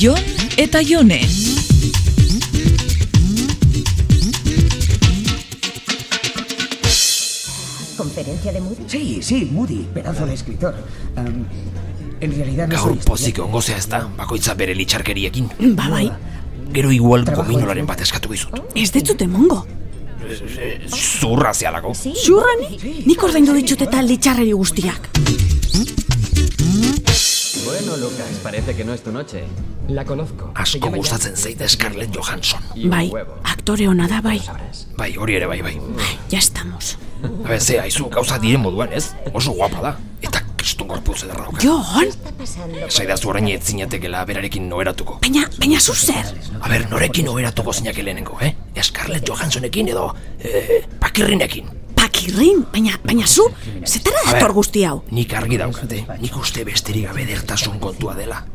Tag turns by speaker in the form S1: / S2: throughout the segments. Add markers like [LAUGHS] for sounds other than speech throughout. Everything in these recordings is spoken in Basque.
S1: Jon eta Jone.
S2: ¿Conferencia de Moody?
S3: Sí, sí, Moody, pedazo de escritor. Am, en realidad no
S4: Gaur
S3: soy
S4: pozik
S3: estudiante.
S4: ongo zea ez da, bakoitza bere litxarkeriekin.
S5: Ba bai,
S4: Gero igual
S3: Trabajo
S4: gominolaren
S3: de-
S4: bat eskatu dizut.
S5: ez ditzute mongo.
S4: Zurra zealako.
S2: Sí.
S5: Zurrani, nik ordaindu ditut eta litxarreri guztiak.
S6: Bueno, Lucas, parece que no es tu noche. La conozco. Se
S4: Asko
S6: llama
S4: gustatzen zait Scarlett Johansson.
S6: Y un
S5: Bai,
S6: huevo.
S5: aktore ona da bai.
S6: Sabrás.
S4: Bai, hori ere bai, bai.
S5: Ja estamos.
S4: Habe, ze, haizu gauza diren moduan, ez? Oso guapa da. Eta kriston gorputz ederra dauka.
S5: Jon,
S2: está pasando?
S4: Esaidazu orain ez zinatekela berarekin noberatuko.
S5: baina, baina zu zer?
S4: A ber, norekin noberatuko zinake lehenengo, eh? Scarlett Johanssonekin edo, eh, pakirrinekin.
S5: Pakirrin, baina, baina zu, zetara
S4: A ber,
S5: dator guzti hau.
S4: Nik argi daukate, nik uste besterik gabe edertasun kontua dela.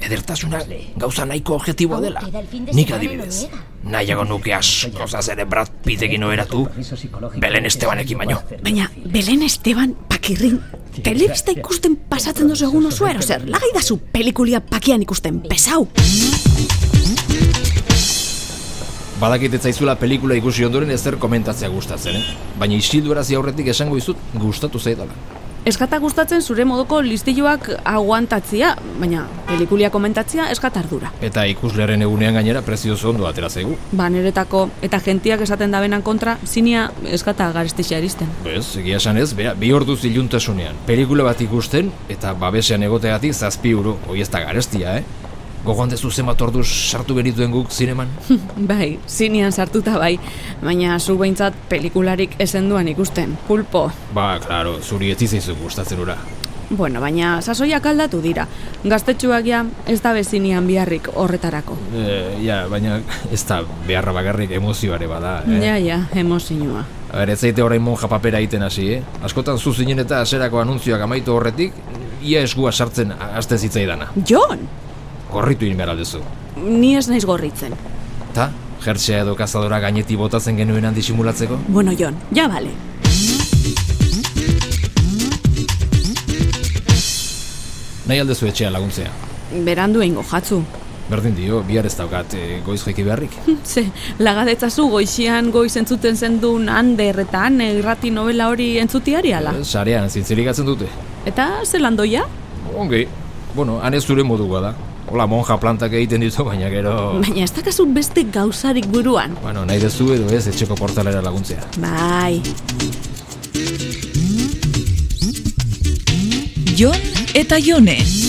S4: Edertasuna gauza nahiko objektiboa dela. Nik adibidez, nahiago nuke askoz ere Brad Pittekin oheratu,
S3: Permiso psicológico.
S4: Belen Estebanekin baino.
S5: Baina, Belen Esteban pakirrin, telebista ikusten pasatzen dozu egun oso ero zer, lagai da zu pelikulia pakian ikusten, pesau.
S7: Badakit ez zaizula pelikula ikusi ondoren ezer komentatzea gustatzen, eh? Baina isildurazi aurretik esango dizut gustatu zaidala.
S8: Eskata gustatzen zure moduko listilloak aguantatzia, baina pelikulia komentatzia eskat ardura.
S7: Eta ikuslearen egunean gainera prezioz ondo atera zaigu.
S8: Ba, niretako eta gentiak esaten dabenan kontra, zinia eskata garestixea eristen.
S7: Ez, egia esan ez, bea, bi orduz iluntasunean. Pelikula bat ikusten eta babesean egoteagatik zazpi euro, hoi ez da garestia, eh? Gogoan dezu zenbat orduz sartu genituen guk zineman?
S8: [LAUGHS] Bai, zinean sartuta bai, baina zu behintzat pelikularik esenduan ikusten, pulpo.
S7: ba, klaro, zuri ez zizaizu gustatzen ura.
S8: Bueno, baina sasoiak aldatu dira. Gaztetxuak ja ez da bezinean biharrik horretarako.
S7: E, ja, baina [LAUGHS] ez da beharra bakarrik emozioare bada, eh?
S8: Ja, ja, emozinua.
S7: A ber, ez zaite orain monja papera egiten hasi, eh? Askotan zu zinen eta aserako anuntzioak amaitu horretik, ia eskua sartzen aste zitzaidana.
S8: Jon!
S7: Gorritu egin behar aldezu.
S8: Ni ez naiz gorritzen.
S7: Ta, jertzea edo kazadora gaineti botatzen genuen handi simulatzeko?
S5: Bueno, Jon, ja bale.
S7: Nahi aldezu etxea laguntzea.
S8: Berandu eingo jatzu.
S7: Berdin dio, bihar ez daukat eh, goiz jaiki beharrik.
S8: Ze, lagadetzazu goixian goiz entzuten zendun Ander eta Anne irrati novela hori entzutiari ala.
S7: Eh, Sarean zintzilikatzen dute.
S8: Eta zelandoia?
S7: Ongi, bueno, han ez zure modukoa da. Hola, monja plantak egiten ditu, baina gero...
S8: [LAUGHS] Baina ez dakazu beste gauzarik buruan.
S7: Bueno, nahi dezu edo ez etxeko portalera laguntzea.
S8: Bai,
S1: Jon eta Jone.